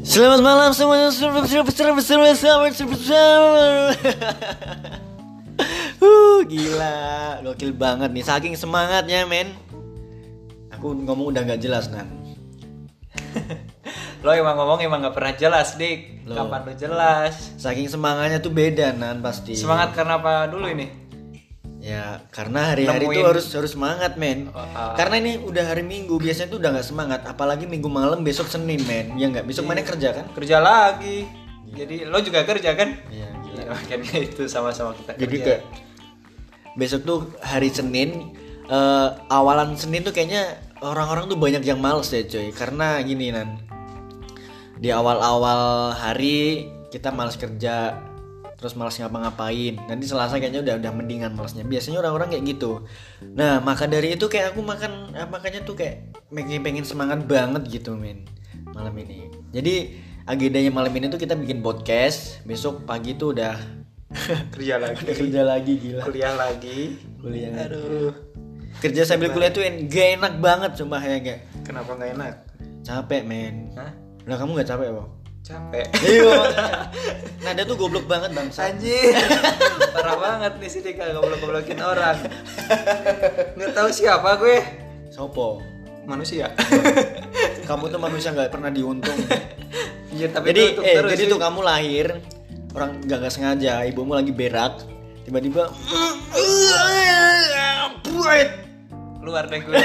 Selamat malam semuanya. Uh, gila, gokil banget nih. Saking semangatnya, men. Aku ngomong udah nggak jelas, Nan. Lo emang ngomong emang gak pernah jelas, Dik. Loh. Kapan lo jelas? Saking semangatnya tuh beda, Nan, pasti. Semangat karena apa dulu ini? Ya, karena hari-hari itu Nemuin. harus harus semangat, men. Oh, ah. Karena ini udah hari Minggu, biasanya tuh udah nggak semangat, apalagi Minggu malam besok Senin, men. Ya nggak, Iya. besok mana kerja kan? Kerja lagi. Jadi lo juga kerja kan? Iya, Iya, makanya itu sama-sama kita Jadi kerja. kayak besok tuh hari Senin eh, awalan Senin tuh kayaknya orang-orang tuh banyak yang males ya coy karena gini nan di awal-awal hari kita males kerja terus males ngapa-ngapain nanti Selasa kayaknya udah udah mendingan malesnya biasanya orang-orang kayak gitu nah maka dari itu kayak aku makan eh, makanya tuh kayak pengen pengen semangat banget gitu men malam ini jadi agendanya malam ini tuh kita bikin podcast besok pagi tuh udah kerja lagi, Udah kerja lagi gila kuliah lagi. Kuliah. Aduh, kerja sambil kuliah tuh en- gak enak banget sumpah ya gak kenapa nggak enak? capek men Hah? lah kamu gak capek bang Capek. iya makanya. nada tuh goblok banget bang Anjir. Parah banget nih sih kalau goblok-goblokin orang. Nggak tahu siapa gue. sopo Manusia. kamu tuh manusia gak pernah diuntung Iya, tapi jadi tutup eh terus jadi sih. tuh kamu lahir orang gak, gak sengaja ibumu lagi berak tiba-tiba Buat. keluar deh gue.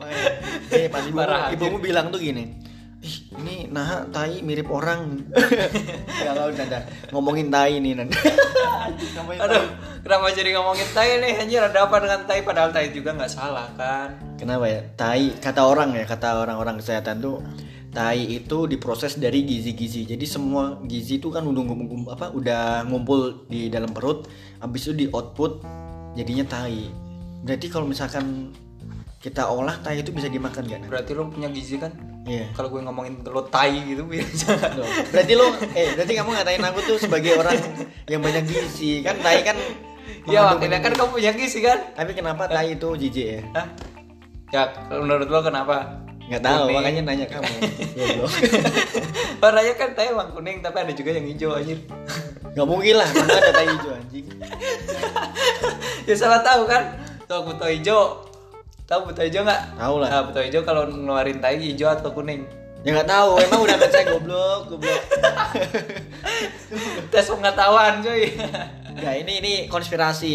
Makanya, eh pas ibumu, Parah aja. ibumu bilang tuh gini Ih, ini nah tai mirip orang Gak tau Nanda Ngomongin tai nih Nanda Ngomongin tai. Aduh, kenapa jadi ngomongin tai nih? Anjir, ada apa dengan tai? Padahal tai juga nggak salah kan? Kenapa ya? Tai, kata orang ya, kata orang-orang kesehatan tuh Tai itu diproses dari gizi-gizi. Jadi semua gizi itu kan udah ngumpul apa udah ngumpul di dalam perut, habis itu di output jadinya tai. Berarti kalau misalkan kita olah tai itu bisa dimakan gak? Nanda? Berarti lu punya gizi kan? Iya. Kalau gue ngomongin lo tai gitu biasa. Loh, berarti lo eh berarti kamu ngatain aku tuh sebagai orang yang banyak gizi kan tai kan Iya, mengandung- makanya kan kamu punya gizi kan? tapi kenapa tai itu jijik ya Hah? Ya, menurut lo kenapa? nggak tahu Kuning. makanya nanya kamu Goblok. Warnanya kan tai emang kuning, tapi ada juga yang hijau anjir. nggak mungkin lah mana ada tai hijau anjing ya salah tahu kan? Tahu buta hijau. Tahu buta hijau nggak? Tahu lah. Nah, buta hijau kalau ngeluarin tai hijau atau kuning. ya nggak tahu emang udah baca goblok goblok Tes pengetahuan cuy. nggak Ya, ini ini konspirasi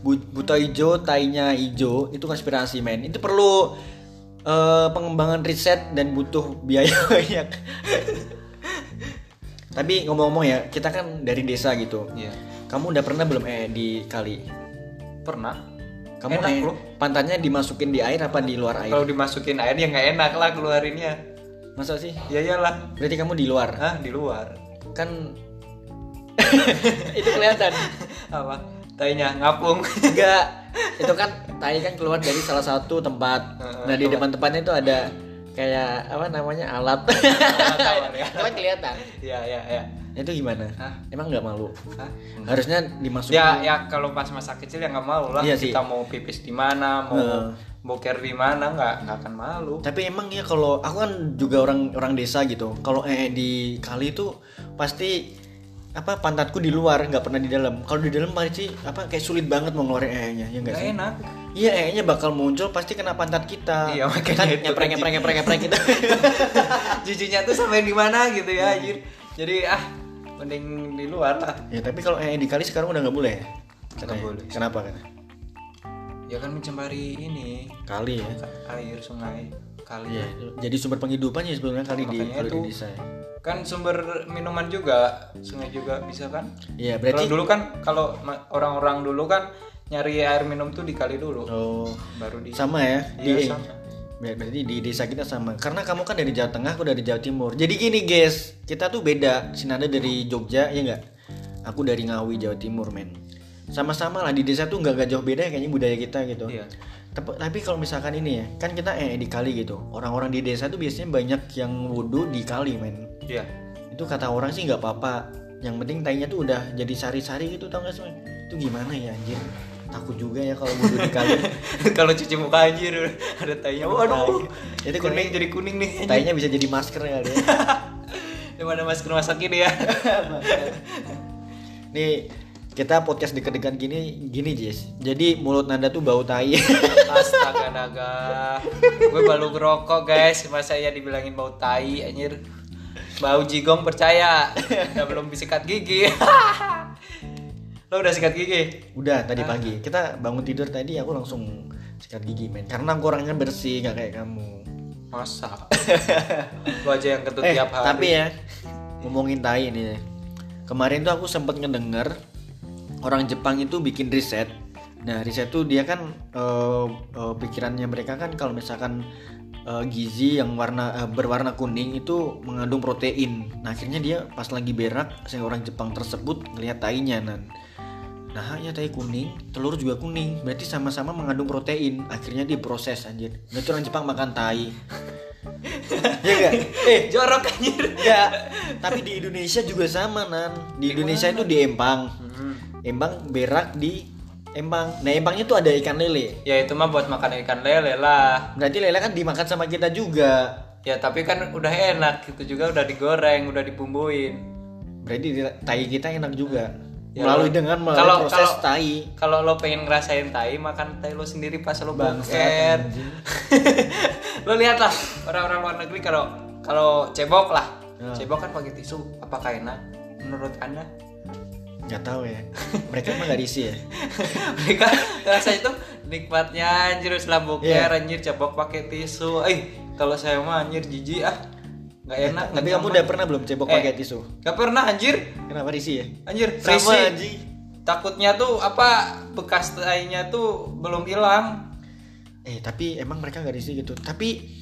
Bu- buta hijau tainya hijau itu konspirasi men itu perlu eh, pengembangan riset dan butuh biaya banyak tapi ngomong-ngomong ya kita kan dari desa gitu Iya. Kamu udah pernah belum eh di kali? Pernah. Kamu Enak, eh, bro. pantatnya dimasukin di air apa di luar air? Kalau dimasukin air ya nggak enak lah keluarinnya. Masa sih? Ya iyalah. Berarti kamu di luar. Hah, di luar. Kan itu kelihatan. Apa? Tainya ngapung. Enggak. Itu kan tai kan keluar dari salah satu tempat. Heeh, Nah, di depan tempatnya itu ada kayak apa namanya? alat. Tawar ya. Cuman kelihatan. Ya ya ya. Itu gimana? Hah? Emang nggak malu? Hah? Harusnya dimasukin. Ya ya kalau pas masa kecil ya nggak malu lah. Iya sih. Kita mau pipis di mana, mau Heeh. boker di mana nggak nggak akan malu. Tapi emang ya kalau aku kan juga orang orang desa gitu. Kalau eh di kali itu pasti apa pantatku di luar nggak pernah di dalam. Kalau di dalam pasti apa kayak sulit banget mau ngeluarin eh-nya ya enggak Nggak sih? enak. Iya eh-nya bakal muncul pasti kena pantat kita. Iya, makanya kan itu ngeprek kan. ngeprek ngeprek ngeprek gitu. Jijinya tuh sampai di mana gitu Iya. ya anjir. Jadi ah mending di luar lah. ya tapi kalau eh di kali sekarang udah nggak boleh. ya? Katanya. boleh. Kenapa kan? Ya kan mencemari ini Kali ya. air sungai kali. Iya. Jadi sumber penghidupan ya sebenarnya kali di Makanya kalau di itu- desa. ya. Kan sumber minuman juga, sungai juga bisa kan? Iya Kalau berarti. dulu kan kalau ma- orang-orang dulu kan nyari air minum tuh di kali dulu, Oh, baru di sama ya. Iya, di, sama. Ber- Berarti di desa kita sama. Karena kamu kan dari Jawa Tengah, aku dari Jawa Timur. Jadi gini guys, kita tuh beda. Sinada dari Jogja, ya nggak? Aku dari Ngawi, Jawa Timur, men. Sama-sama lah di desa tuh nggak nggak jauh beda ya kayaknya budaya kita gitu. Iya. Tapi, tapi kalau misalkan ini ya, kan kita eh di kali gitu. Orang-orang di desa tuh biasanya banyak yang wudhu di kali, men. Iya. Itu kata orang sih nggak apa-apa. Yang penting tainya tuh udah jadi sari-sari gitu, tau nggak sih? men? Itu gimana ya anjir? Takut juga ya kalau wudhu di kali. kalau cuci muka anjir ada tainya. Tai. Waduh. Itu Itu kuning jadi kuning nih. Tainya bisa jadi masker kali ya. Daripada masuk rumah sakit ya. Nih kita podcast deket-dekan gini gini Jis. Jadi mulut Nanda tuh bau tai. Astaga naga. Gue baru ngerokok guys, masa ya dibilangin bau tai anjir. Bau jigong percaya. Udah belum sikat gigi. Lo udah sikat gigi? Udah tadi pagi kita bangun tidur tadi aku langsung sikat gigi men karena aku orangnya bersih gak kayak kamu. Masa? Lo aja yang ketut Eh, tiap hari. tapi ya ngomongin tai nih. Kemarin tuh aku sempet ngedenger orang Jepang itu bikin riset. Nah, riset tuh dia kan eh, eh, pikirannya mereka kan kalau misalkan eh, gizi yang warna eh, berwarna kuning itu mengandung protein. Nah, akhirnya dia pas lagi berak si orang Jepang tersebut ngelihat tainya nan. Nah, ya tai kuning, telur juga kuning. Berarti sama-sama mengandung protein. Akhirnya diproses anjir. Berarti orang Jepang makan tai. ya enggak? Eh, jorok anjir. Ya, tapi di Indonesia juga sama, Nan. Di Indonesia itu di Empang. Empang berak di Empang. Nah, Empangnya tuh ada ikan lele. Ya itu mah buat makan ikan lele lah. Berarti lele kan dimakan sama kita juga. Ya tapi kan udah enak itu juga udah digoreng, udah dibumbuin. Berarti di- tai kita enak juga. Ya, melalui lo- dengan melalui kalau- proses kalau- tai. Kalau lo pengen ngerasain tai, makan tai lo sendiri pas lo Bangsat, boker. lo lihat lah orang-orang luar negeri kalau kalau cebok lah, Ya. cebok kan pakai tisu. Apakah enak? Menurut anda? Nggak tahu ya. Mereka emang nggak diisi ya. Mereka rasa itu nikmatnya anjir setelah boker Iya. anjir cebok pakai tisu. Eh kalau saya mah anjir jijik ah, nggak enak. Tapi kamu udah pernah belum cebok Eh. pakai tisu? Gak pernah anjir, Kenapa diisi ya? anjir. Sama, risih. anjing. Takutnya tuh apa bekas tainya tuh belum hilang. Eh tapi emang mereka nggak diisi gitu. Tapi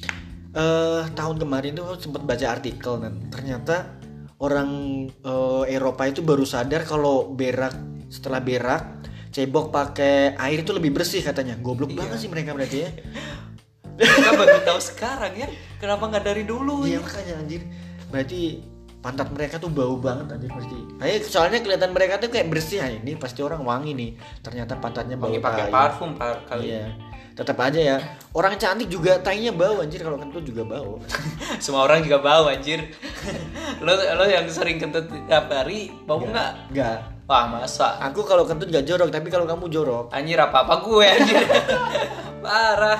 eh tahun kemarin tuh sempat baca artikel dan ternyata orang eh, Eropa itu baru sadar kalau berak setelah berak cebok pakai air itu lebih bersih katanya. Goblok Iya. banget sih mereka berarti ya. Kita baru tahu sekarang ya. Kenapa nggak dari dulu? Iya ya? makanya anjir. Berarti pantat mereka tuh bau banget anjir pasti. Eh, soalnya kelihatan mereka tuh kayak bersih "Ah, ini pasti orang wangi nih. Ternyata pantatnya bau. Wangi pakai tai. parfum par- kali. Iya. Tetap aja ya. Orang cantik juga tainya bau anjir kalau kentut juga bau. Semua orang juga bau anjir. lo lo yang sering kentut tiap hari bau Iya. nggak? Enggak. Wah masa Aku kalau kentut gak jorok, tapi kalau kamu jorok. anjir apa apa gue anjir. Parah.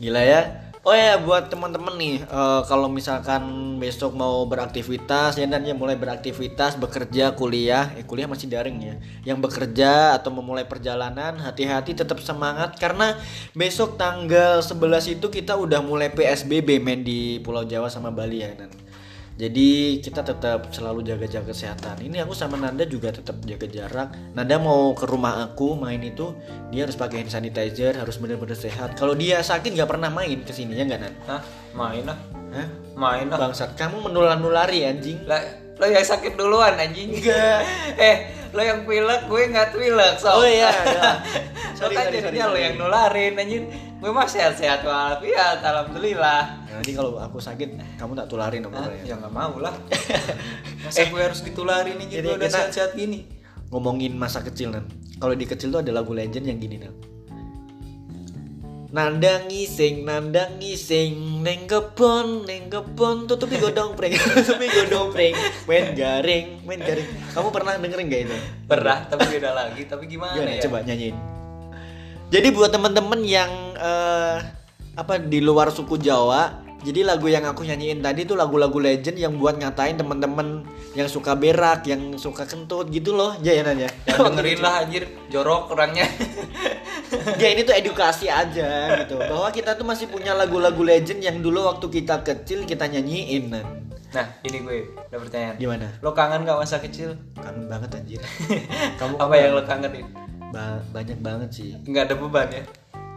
Gila ya. Oh ya buat teman-teman nih, eh, kalau misalkan besok mau beraktivitas ya dan ya mulai beraktivitas, bekerja, kuliah, eh kuliah masih daring ya. Yang bekerja atau memulai perjalanan, hati-hati tetap semangat karena besok tanggal 11 itu kita udah mulai PSBB men di Pulau Jawa sama Bali ya. Nan. Jadi kita tetap selalu jaga-jaga kesehatan. Ini aku sama Nanda juga tetap jaga jarak. Nanda mau ke rumah aku main itu, dia harus pakai hand sanitizer, harus benar-benar sehat. Kalau dia sakit nggak pernah main ke sini ya nggak Nan? Nah main lah, Hah? main lah. Bangsat, kamu menular-nulari anjing. Lah, Lo yang sakit duluan anjing. eh lo yang pilek gue nggak pilek so. Oh iya, iya. So Sorry, kan sorry, jadinya sorry, lo sorry. yang nularin anjing. Gue mah sehat-sehat walafiat, alhamdulillah. Nanti kalau aku sakit, kamu tak tularin Hah? Eh. nomornya. Ya nggak mau lah. Masa gue harus ditularin nih jadi gitu udah kita- sehat-sehat gini. Ngomongin masa kecil Nan. Kalau di kecil tuh ada lagu legend yang gini Nan. Nanda ngising, nanda ngising, neng kebon, neng kebon, tutupi godong preng, tutupi godong preng, main garing, main garing. Kamu pernah dengerin gak itu? Pernah tapi beda lagi. Tapi gimana Gimana? ya? Coba nyanyiin. Jadi buat temen-temen yang eh, apa di luar suku Jawa, jadi lagu yang aku nyanyiin tadi tuh lagu-lagu legend yang buat ngatain temen-temen yang suka berak, yang suka kentut gitu loh, ya ya Nan, ya. Ya, dengerin lah anjir jorok orangnya. ya ini tuh edukasi aja gitu bahwa kita tuh masih punya lagu-lagu legend yang dulu waktu kita kecil kita nyanyiin Nan. nah ini gue udah pertanyaan. gimana Lo kangen gak masa kecil? kangen banget anjir kamu Apa yang lo kangenin? ba- banyak banget sih Nggak ada beban ya?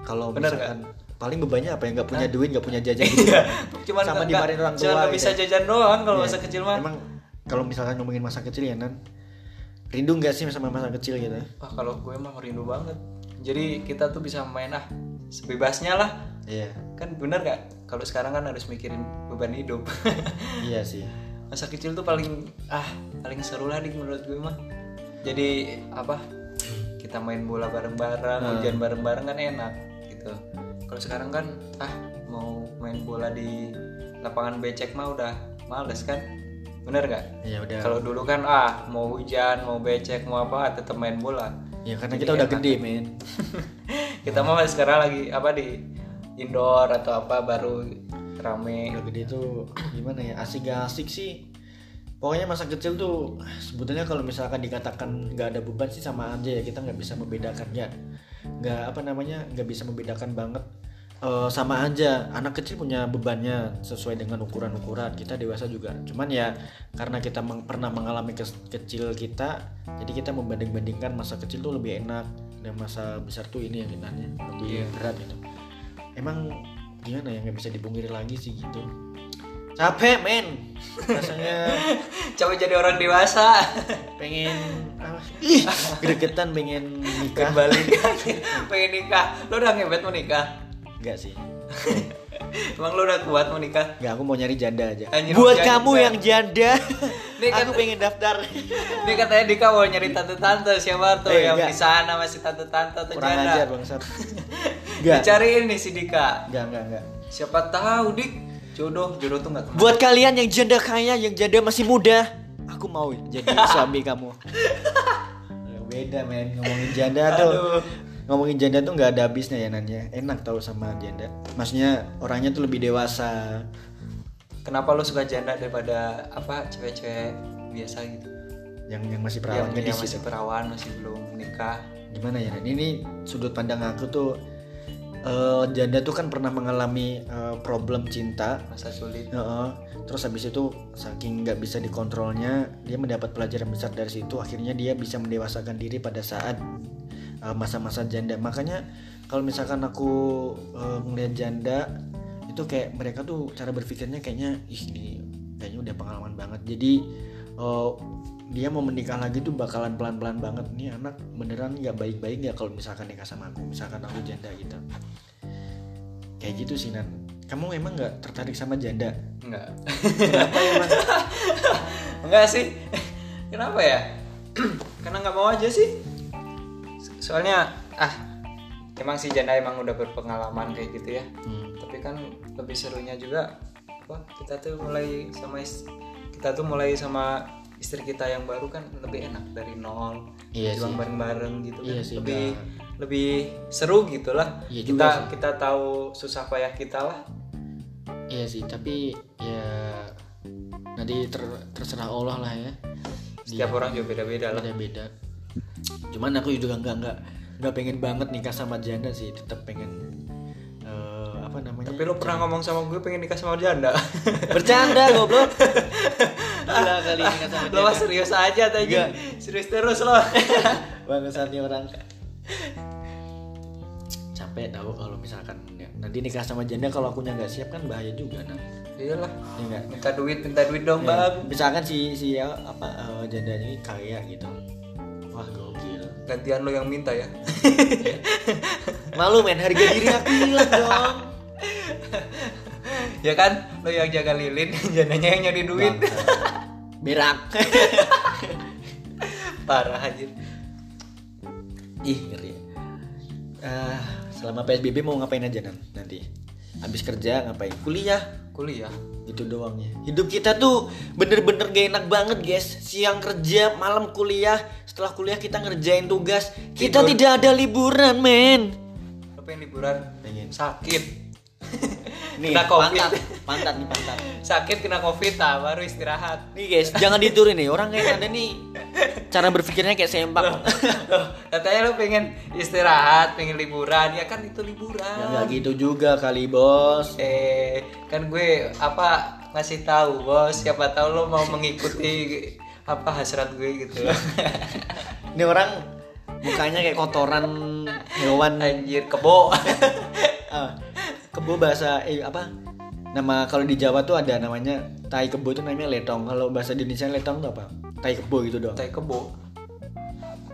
kalau Bener Iya. misalkan paling bebannya apa ya nggak punya duit nggak punya jajan gitu Cuman sama nggak- dimarahin orang cuman tua nggak bisa gitu. jajan doang kalau Iya. masa kecil mah. emang kalau misalkan ngomongin masa kecil ya nan rindu nggak sih sama masa kecil gitu Wah kalau gue emang rindu banget. Jadi kita tuh bisa main ah sebebasnya lah. iya Kan bener gak? Kalau sekarang kan harus mikirin beban hidup. iya sih masa kecil tuh paling ah paling seru lah dik menurut gue mah jadi apa kita main bola bareng-bareng Hmm. hujan bareng-bareng kan enak gitu kalau sekarang kan ah mau main bola di lapangan becek mah udah males kan bener nggak ya udah kalau dulu kan ah mau hujan mau becek mau apa tetap main bola ya karena kita udah gede men kita mah sekarang lagi apa di indoor atau apa baru rame udah gede tuh gimana ya asik gak asik sih pokoknya masa kecil tuh sebetulnya kalau misalkan dikatakan nggak ada beban sih sama aja ya kita nggak bisa membedakan ya nggak apa namanya nggak bisa membedakan banget Eh, sama aja anak kecil punya bebannya sesuai dengan ukuran-ukuran kita dewasa juga cuman ya karena kita meng- pernah mengalami kes- kecil kita jadi kita membanding-bandingkan masa kecil tuh lebih enak dan masa besar tuh ini yang enaknya lebih Iya. berat gitu emang gimana ya nggak bisa dipungkiri lagi sih gitu capek men rasanya coba jadi orang dewasa pengen apa ih gregetan pengen nikah kembali pengen nikah lo udah ngebet mau nikah enggak sih emang lo udah kuat mau nikah enggak aku mau nyari janda aja Anjir, buat janda. kamu yang janda Nih, aku pengen daftar ini katanya Dika mau nyari tante-tante siapa tuh Eh, yang enggak. di sana masih tante-tante atau kurang janda. ajar bangsat enggak Dicariin nih si Dika. enggak enggak enggak Siapa tahu Dik jodoh jodoh tuh nggak kemana. buat kalian yang janda kaya yang janda masih muda aku mau jadi suami kamu Ya, beda men ngomongin janda tuh Aduh. ngomongin janda tuh nggak ada habisnya ya Nanya enak tau sama janda maksudnya orangnya tuh lebih dewasa Kenapa lo suka janda daripada apa cewek-cewek biasa gitu? yang yang masih perawan yang, yang gadis masih itu. perawan masih belum nikah. gimana ya Ren? ini sudut pandang aku tuh eh, janda tuh kan pernah mengalami eh, problem cinta masa sulit Heeh. terus habis itu saking nggak bisa dikontrolnya dia mendapat pelajaran besar dari situ akhirnya dia bisa mendewasakan diri pada saat eh, masa-masa janda makanya kalau misalkan aku eh, ngeliat janda itu kayak mereka tuh cara berpikirnya kayaknya ih ini kayaknya udah pengalaman banget jadi eh, dia mau menikah lagi tuh bakalan pelan-pelan banget nih anak beneran nggak baik-baik nggak kalau misalkan nikah sama aku misalkan aku janda gitu kayak gitu sih Nan kamu emang nggak tertarik sama janda enggak kenapa ya, emang enggak sih kenapa ya karena nggak mau aja sih So- soalnya ah emang si janda emang udah berpengalaman kayak gitu ya Hmm. tapi kan lebih serunya juga apa kita tuh mulai sama is- kita tuh mulai sama istri kita yang baru kan lebih enak dari nol Iya sih. juang bareng-bareng gitu kan Iya sih, lebih lebih seru gitulah Iya kita juga kita tahu susah payah kita lah iya sih tapi ya nanti ter- terserah Allah lah ya setiap orang juga beda-beda lah beda beda cuman aku juga nggak nggak nggak pengen banget nikah sama janda sih tetap pengen eh, apa namanya Tapi lo pernah ngomong sama gue pengen nikah sama janda. Nah, bercanda goblok gila kali nikah sama lo janda mah serius aja tadi. Enggak. Serius terus lo. bangsatnya orang capek tau kalau misalkan ya. nanti nikah sama janda kalau akunya nggak siap kan bahaya juga nah Iyalah. ya nggak? Minta duit, minta duit dong, Ya, Bang. misalkan si si ya, apa eh, jandanya ini kaya gitu wah gokil Gantian lo yang minta ya. malu men harga diri aku hilang dong ya kan? Lo yang jaga lilin, jandanya yang nyari duit. Bangsa. berak Parah anjir. ih ngeri Ah, selama psbb mau ngapain aja Nan, nanti habis kerja ngapain kuliah Kuliah. gitu doangnya hidup kita tuh bener-bener gak enak banget guys siang kerja malam kuliah setelah kuliah kita ngerjain tugas kita Tidur. tidak ada liburan men Lo pengen liburan? Pengen. Sakit. nih Kena covid. pantat pantat nih pantat Sakit kena covid ah, baru istirahat. Nih guys, jangan ditiru nih. Orang kayak ada nih cara berpikirnya kayak sempak. Loh, katanya lo pengen istirahat, pengen liburan, ya kan itu liburan. ya nggak gitu juga kali bos. Eh, kan gue apa ngasih tahu bos siapa tahu lo mau mengikuti apa hasrat gue gitu Ini orang mukanya kayak kotoran hewan. anjir kebo Ah, kebo bahasa eh apa? Nama kalau di Jawa tuh ada namanya tai kebo itu namanya letong. Kalau bahasa Indonesia letong tuh apa? Tai kebo gitu doang. tai kebo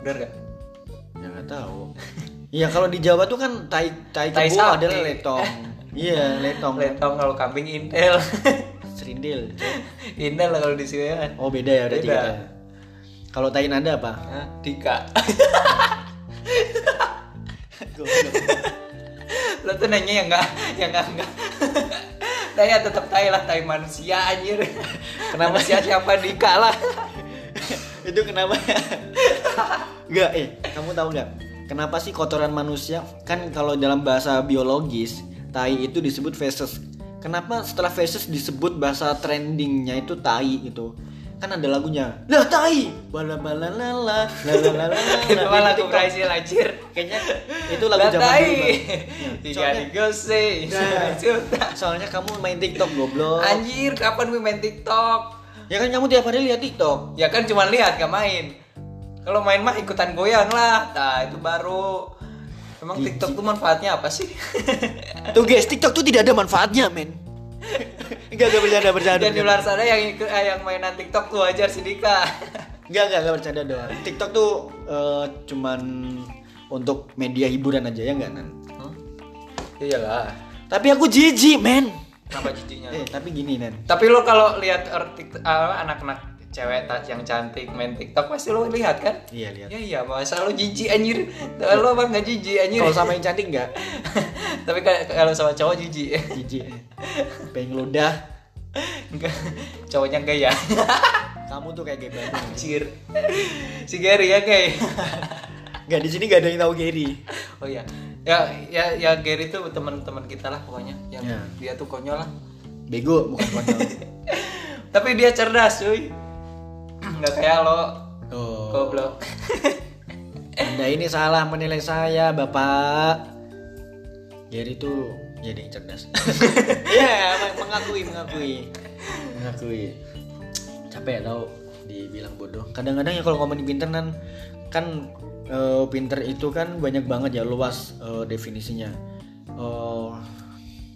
bener gak Ya nggak tahu. Iya kalau di Jawa tuh kan tai tai Tai kebo sapi. adalah letong. Iya, letong. letong kalau kambing intel Serindil. intel lah kalau di sini ya Oh beda ya berarti Beda. katanya. Kalau tai nada apa? Hah, Dika lo tuh nanya yang enggak yang enggak enggak Tai ya tetap tai lah, tai manusia anjir. Kenapa? manusia siapa Dika lah. itu kenapa nggak eh kamu tahu nggak kenapa sih kotoran manusia kan kalau dalam bahasa biologis tai itu disebut feces kenapa setelah feces disebut bahasa trendingnya itu tai itu kan ada lagunya lah tai bala bala lala lala lala Itu malah aku berhasil anjir. Nah, kayaknya itu lagu zaman Tai. dulu Bang. Tiga soalnya, digose. Nah. Sudah. soalnya kamu main tiktok goblok Anjir, kapan gue main TikTok? ya kan kamu tiap hari lihat tiktok Ya kan cuma lihat gak main. Kalau main mah ikutan goyang lah. Nah, itu baru Emang TikTok tuh manfaatnya apa sih? Tuh guys, TikTok tuh tidak ada manfaatnya, men. Enggak, enggak bercanda, bercanda. Dan di luar sana yang ikut- eh, yang mainan TikTok tuh ajar si Dika. Enggak, enggak, enggak bercanda doang. TikTok tuh eh, cuman untuk media hiburan aja ya enggak, Nan? Iya Iyalah. Tapi aku jijik, men. Kenapa jijiknya? Eh, tapi gini, Nan. Tapi lo kalau lihat orang Tik- apa, anak-anak cewek ta- yang cantik main TikTok pasti lo lihat kan? Iya, lihat. Ya iya, masa lo jijik anjir. Lo emang gak jijik anjir. Kalau sama yang cantik enggak? Tapi ka- kalau sama cowok jijik. Jijik. Pengen ludah. Enggak. Cowoknya gaya. Kamu tuh kayak gay banget. Anjir. Si Gary ya, guys. Enggak di sini enggak ada yang tahu Gary. Oh iya. Ya ya ya Gary tuh teman-teman kita lah pokoknya. Yang Ya. dia tuh konyol lah. Bego bukan konyol. Tapi dia cerdas, cuy. Enggak kayak lo. Oh. Goblok. Anda ini salah menilai saya, Bapak. Gary tuh jadi yang cerdas. Iya, meng- mengakui, mengakui. Mengakui. Capek tau dibilang bodoh. Kadang-kadang ya kalau ngomongin pinter Nan, kan eh, pinter itu kan banyak banget ya luas eh, definisinya. Eh,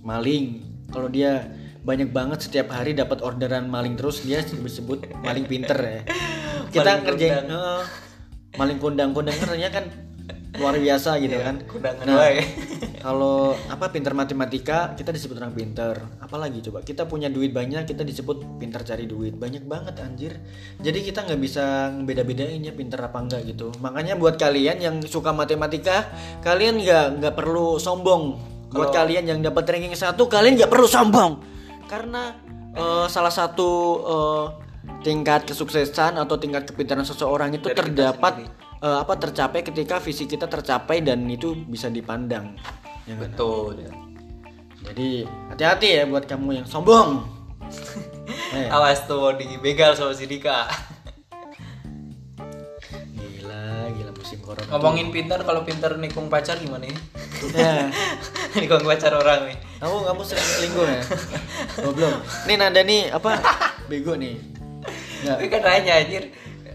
maling kalau dia banyak banget setiap hari dapat orderan maling terus dia disebut maling pinter ya. Kita Maling ngerjain eh, maling kondang-kondang kan ternyata kan luar biasa gitu kan. Kudangan Nah, wae. kalau apa pinter matematika kita disebut orang pinter apalagi coba kita punya duit banyak kita disebut pinter cari duit banyak banget anjir jadi kita nggak bisa beda-bedain ya pinter apa enggak gitu makanya buat kalian yang suka matematika kalian nggak nggak perlu sombong buat kalian yang dapat ranking satu kalian nggak perlu sombong karena eh, salah satu eh, tingkat kesuksesan atau tingkat kepintaran seseorang itu Dari kita terdapat sendiri. eh, apa tercapai ketika visi kita tercapai dan itu bisa dipandang. Ya nggak? Betul. Jadi hati-hati ya buat kamu yang sombong. Eh, Awas tuh mau dibegal sama si Dika. gila, gila musim corona. Ngomongin pintar kalau pintar nikung pacar gimana ya? Nah, nikung pacar orang nih. kamu kamu sering selingkuh ya? Goblok. Nih Nanda nih apa? Bego nih. Nggak, Tapi kan nanya anjir.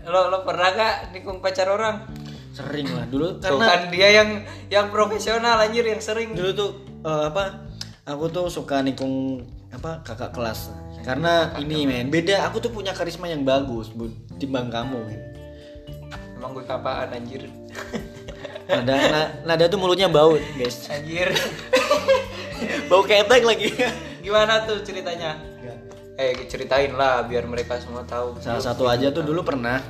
Lo lo pernah gak nikung pacar orang? sering lah dulu Tuh karena kan dia yang yang profesional anjir yang sering. dulu tuh eh, apa? Aku tuh suka nikung apa kakak kelas karena ini men beda aku tuh punya karisma yang bagus bu, timbang kamu men. Emang gue kapaan anjir. Nada, na- nada tuh mulutnya bau, guys. Anjir. Bau ketek lagi. Gimana tuh ceritanya? Eh ceritain lah biar mereka semua tahu. Salah satu aja tuh dulu pernah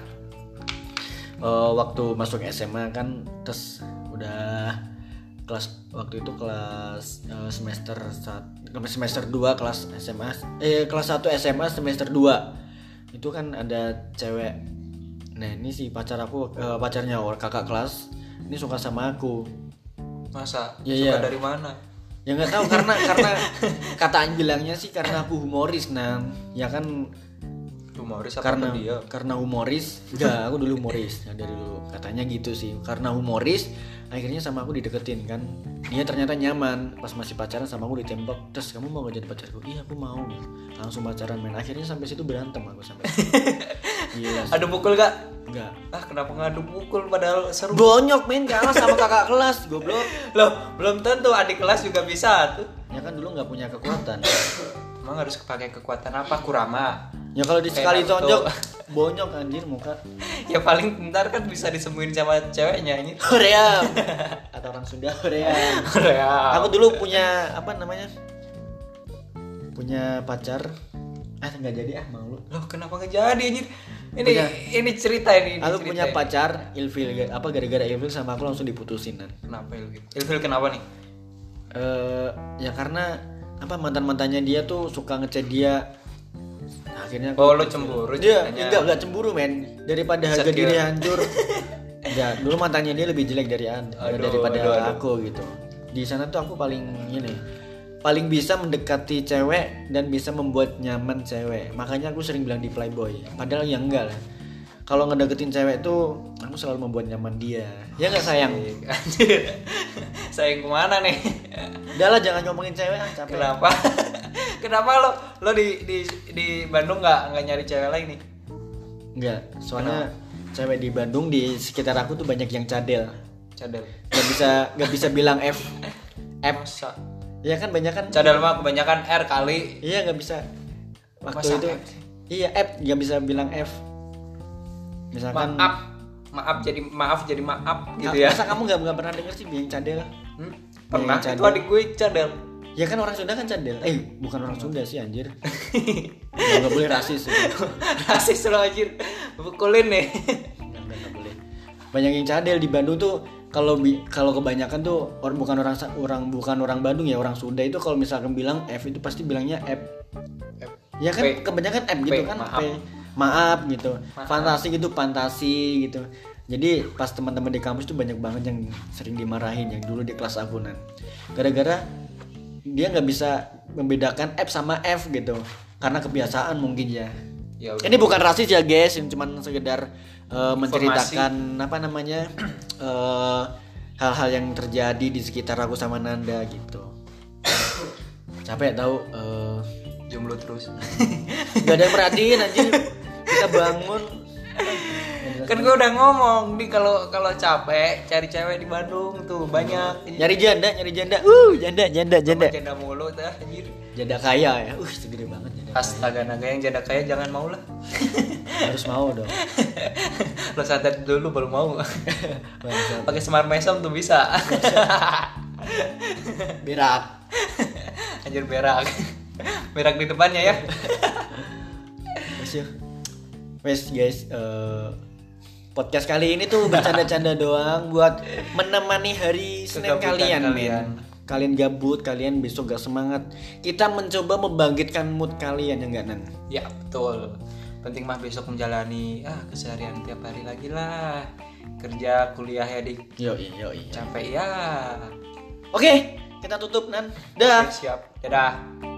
eh, waktu masuk SMA kan tes udah kelas waktu itu kelas eh, semester sat- semester 2 kelas SMA eh kelas 1 SMA semester 2. Itu kan ada cewek. Nah, ini si pacar aku eh, pacarnya orang kakak kelas ini suka sama aku. Masa? Iya, Suka iya. dari mana? ya nggak tahu karena karena kataan bilangnya sih karena aku humoris nah ya kan Humoris apa karena tuh dia? karena humoris enggak aku dulu humoris ya, dari dulu katanya gitu sih karena humoris akhirnya sama aku dideketin kan dia ternyata nyaman pas masih pacaran sama aku ditembak terus kamu mau gak jadi pacarku iya aku mau langsung pacaran main akhirnya sampai situ berantem aku sampai gila sih. Ada pukul gak? enggak Ah kenapa ngadu pukul padahal seru bonyok main kalah sama kakak kelas goblok Loh belum tentu adik kelas juga bisa tuh ya kan dulu nggak punya kekuatan Emang harus pakai kekuatan apa? Kurama ya kalau di sekali Kayak Naruto. tonjok bonyok anjir muka Ya paling ntar kan bisa disembuhin sama ceweknya ini Korea atau orang Sunda Korea. Korea Aku dulu punya apa namanya? Punya pacar. Ah nggak jadi ah malu. Loh kenapa gak jadi anjir Ini Punya- ini cerita ini, ini Aku cerita punya ini. pacar ilfil ga- apa gara-gara ilfil sama aku langsung diputusin kan. Kenapa Ilfil? Ilfil kenapa nih? Eh ya karena apa mantan mantannya dia tuh suka ngechat dia Nah, akhirnya Oh lu cemburu dia ceritanya. Iya, enggak enggak cemburu men daripada harga Insecure. diri hancur ya dulu mantannya dia lebih jelek dari an- Aduh, daripada aduh, aduh. aku gitu di sana tuh aku paling ini paling bisa mendekati cewek dan bisa membuat nyaman cewek makanya aku sering bilang di playboy padahal ya enggak lah kalau ngedeketin cewek tuh aku selalu membuat nyaman dia ya nggak sayang Anjir. Sayang kemana nih? udah lah jangan ngomongin cewek ah, capek Kenapa? Kenapa lo lo di di di Bandung nggak nggak nyari cewek lain nih? enggak soalnya cewek di Bandung di sekitar aku tuh banyak yang cadel Cadel. nggak bisa nggak bisa bilang F F Masa? ya kan banyak kan Cadel mah kebanyakan R kali. iya nggak bisa waktu Masa itu F? iya F nggak bisa bilang F misalkan Maaf. Maaf jadi maaf jadi maaf gitu Nah, ya. masa kamu nggak nggak pernah denger sih biang cadel Hmm? Yang Pernah itu cadel. adik gue cadel. ya kan orang Sunda kan cadel eh bukan orang Sunda sih anjir nggak nggak boleh rasis sih. Rasis lo anjir. Pukulin nih. Nggak, nggak, nggak boleh banyak yang cadel di Bandung tuh kalau bi- kalau kebanyakan tuh orang bukan orang Sa- orang bukan orang Bandung ya orang Sunda itu kalau misalkan bilang F itu pasti bilangnya F ya kan P. kebanyakan F gitu P, kan maaf. P. maaf gitu Maaf. fantasi gitu fantasi gitu jadi pas teman-teman di kampus tuh banyak banget yang sering dimarahin yang dulu di kelas akunan gara-gara dia nggak bisa membedakan F sama F gitu karena kebiasaan mungkin ya Ya udah. ini bukan rasis ya guys ini cuman sekedar eh, menceritakan apa namanya eh, hal-hal yang terjadi di sekitar aku sama Nanda gitu capek tahu eh, Jomblo terus. Gak ada yang perhatiin anjir Kita bangun kan gue udah ngomong di kalau kalau capek cari cewek di Bandung tuh banyak. Nyari janda, nyari janda Uh, janda, janda, janda Janda mulu dah anjir. Janda kaya ya Uh, segede banget janda Astaga naga yang janda kaya jangan mau lah. Harus mau dong Lo sadar dulu baru mau. Bangsat. Pakai semar mesem tuh bisa. Berak Anjir berak. Berak di depannya ya. Wes yuk. Wes guys eh, Podcast kali ini tuh bercanda-canda doang Buat menemani hari Senin Kegabutan kalian kalian. men Kalian gabut, kalian besok gak semangat Kita mencoba membangkitkan mood kalian ya nggak Nan? ya betul. Penting mah besok menjalani ah keseharian tiap hari lagi lah. Kerja, kuliah ya dik. Yoi, yoi Capek ya. Oke, kita tutup Nan Dah Siap. Dadah.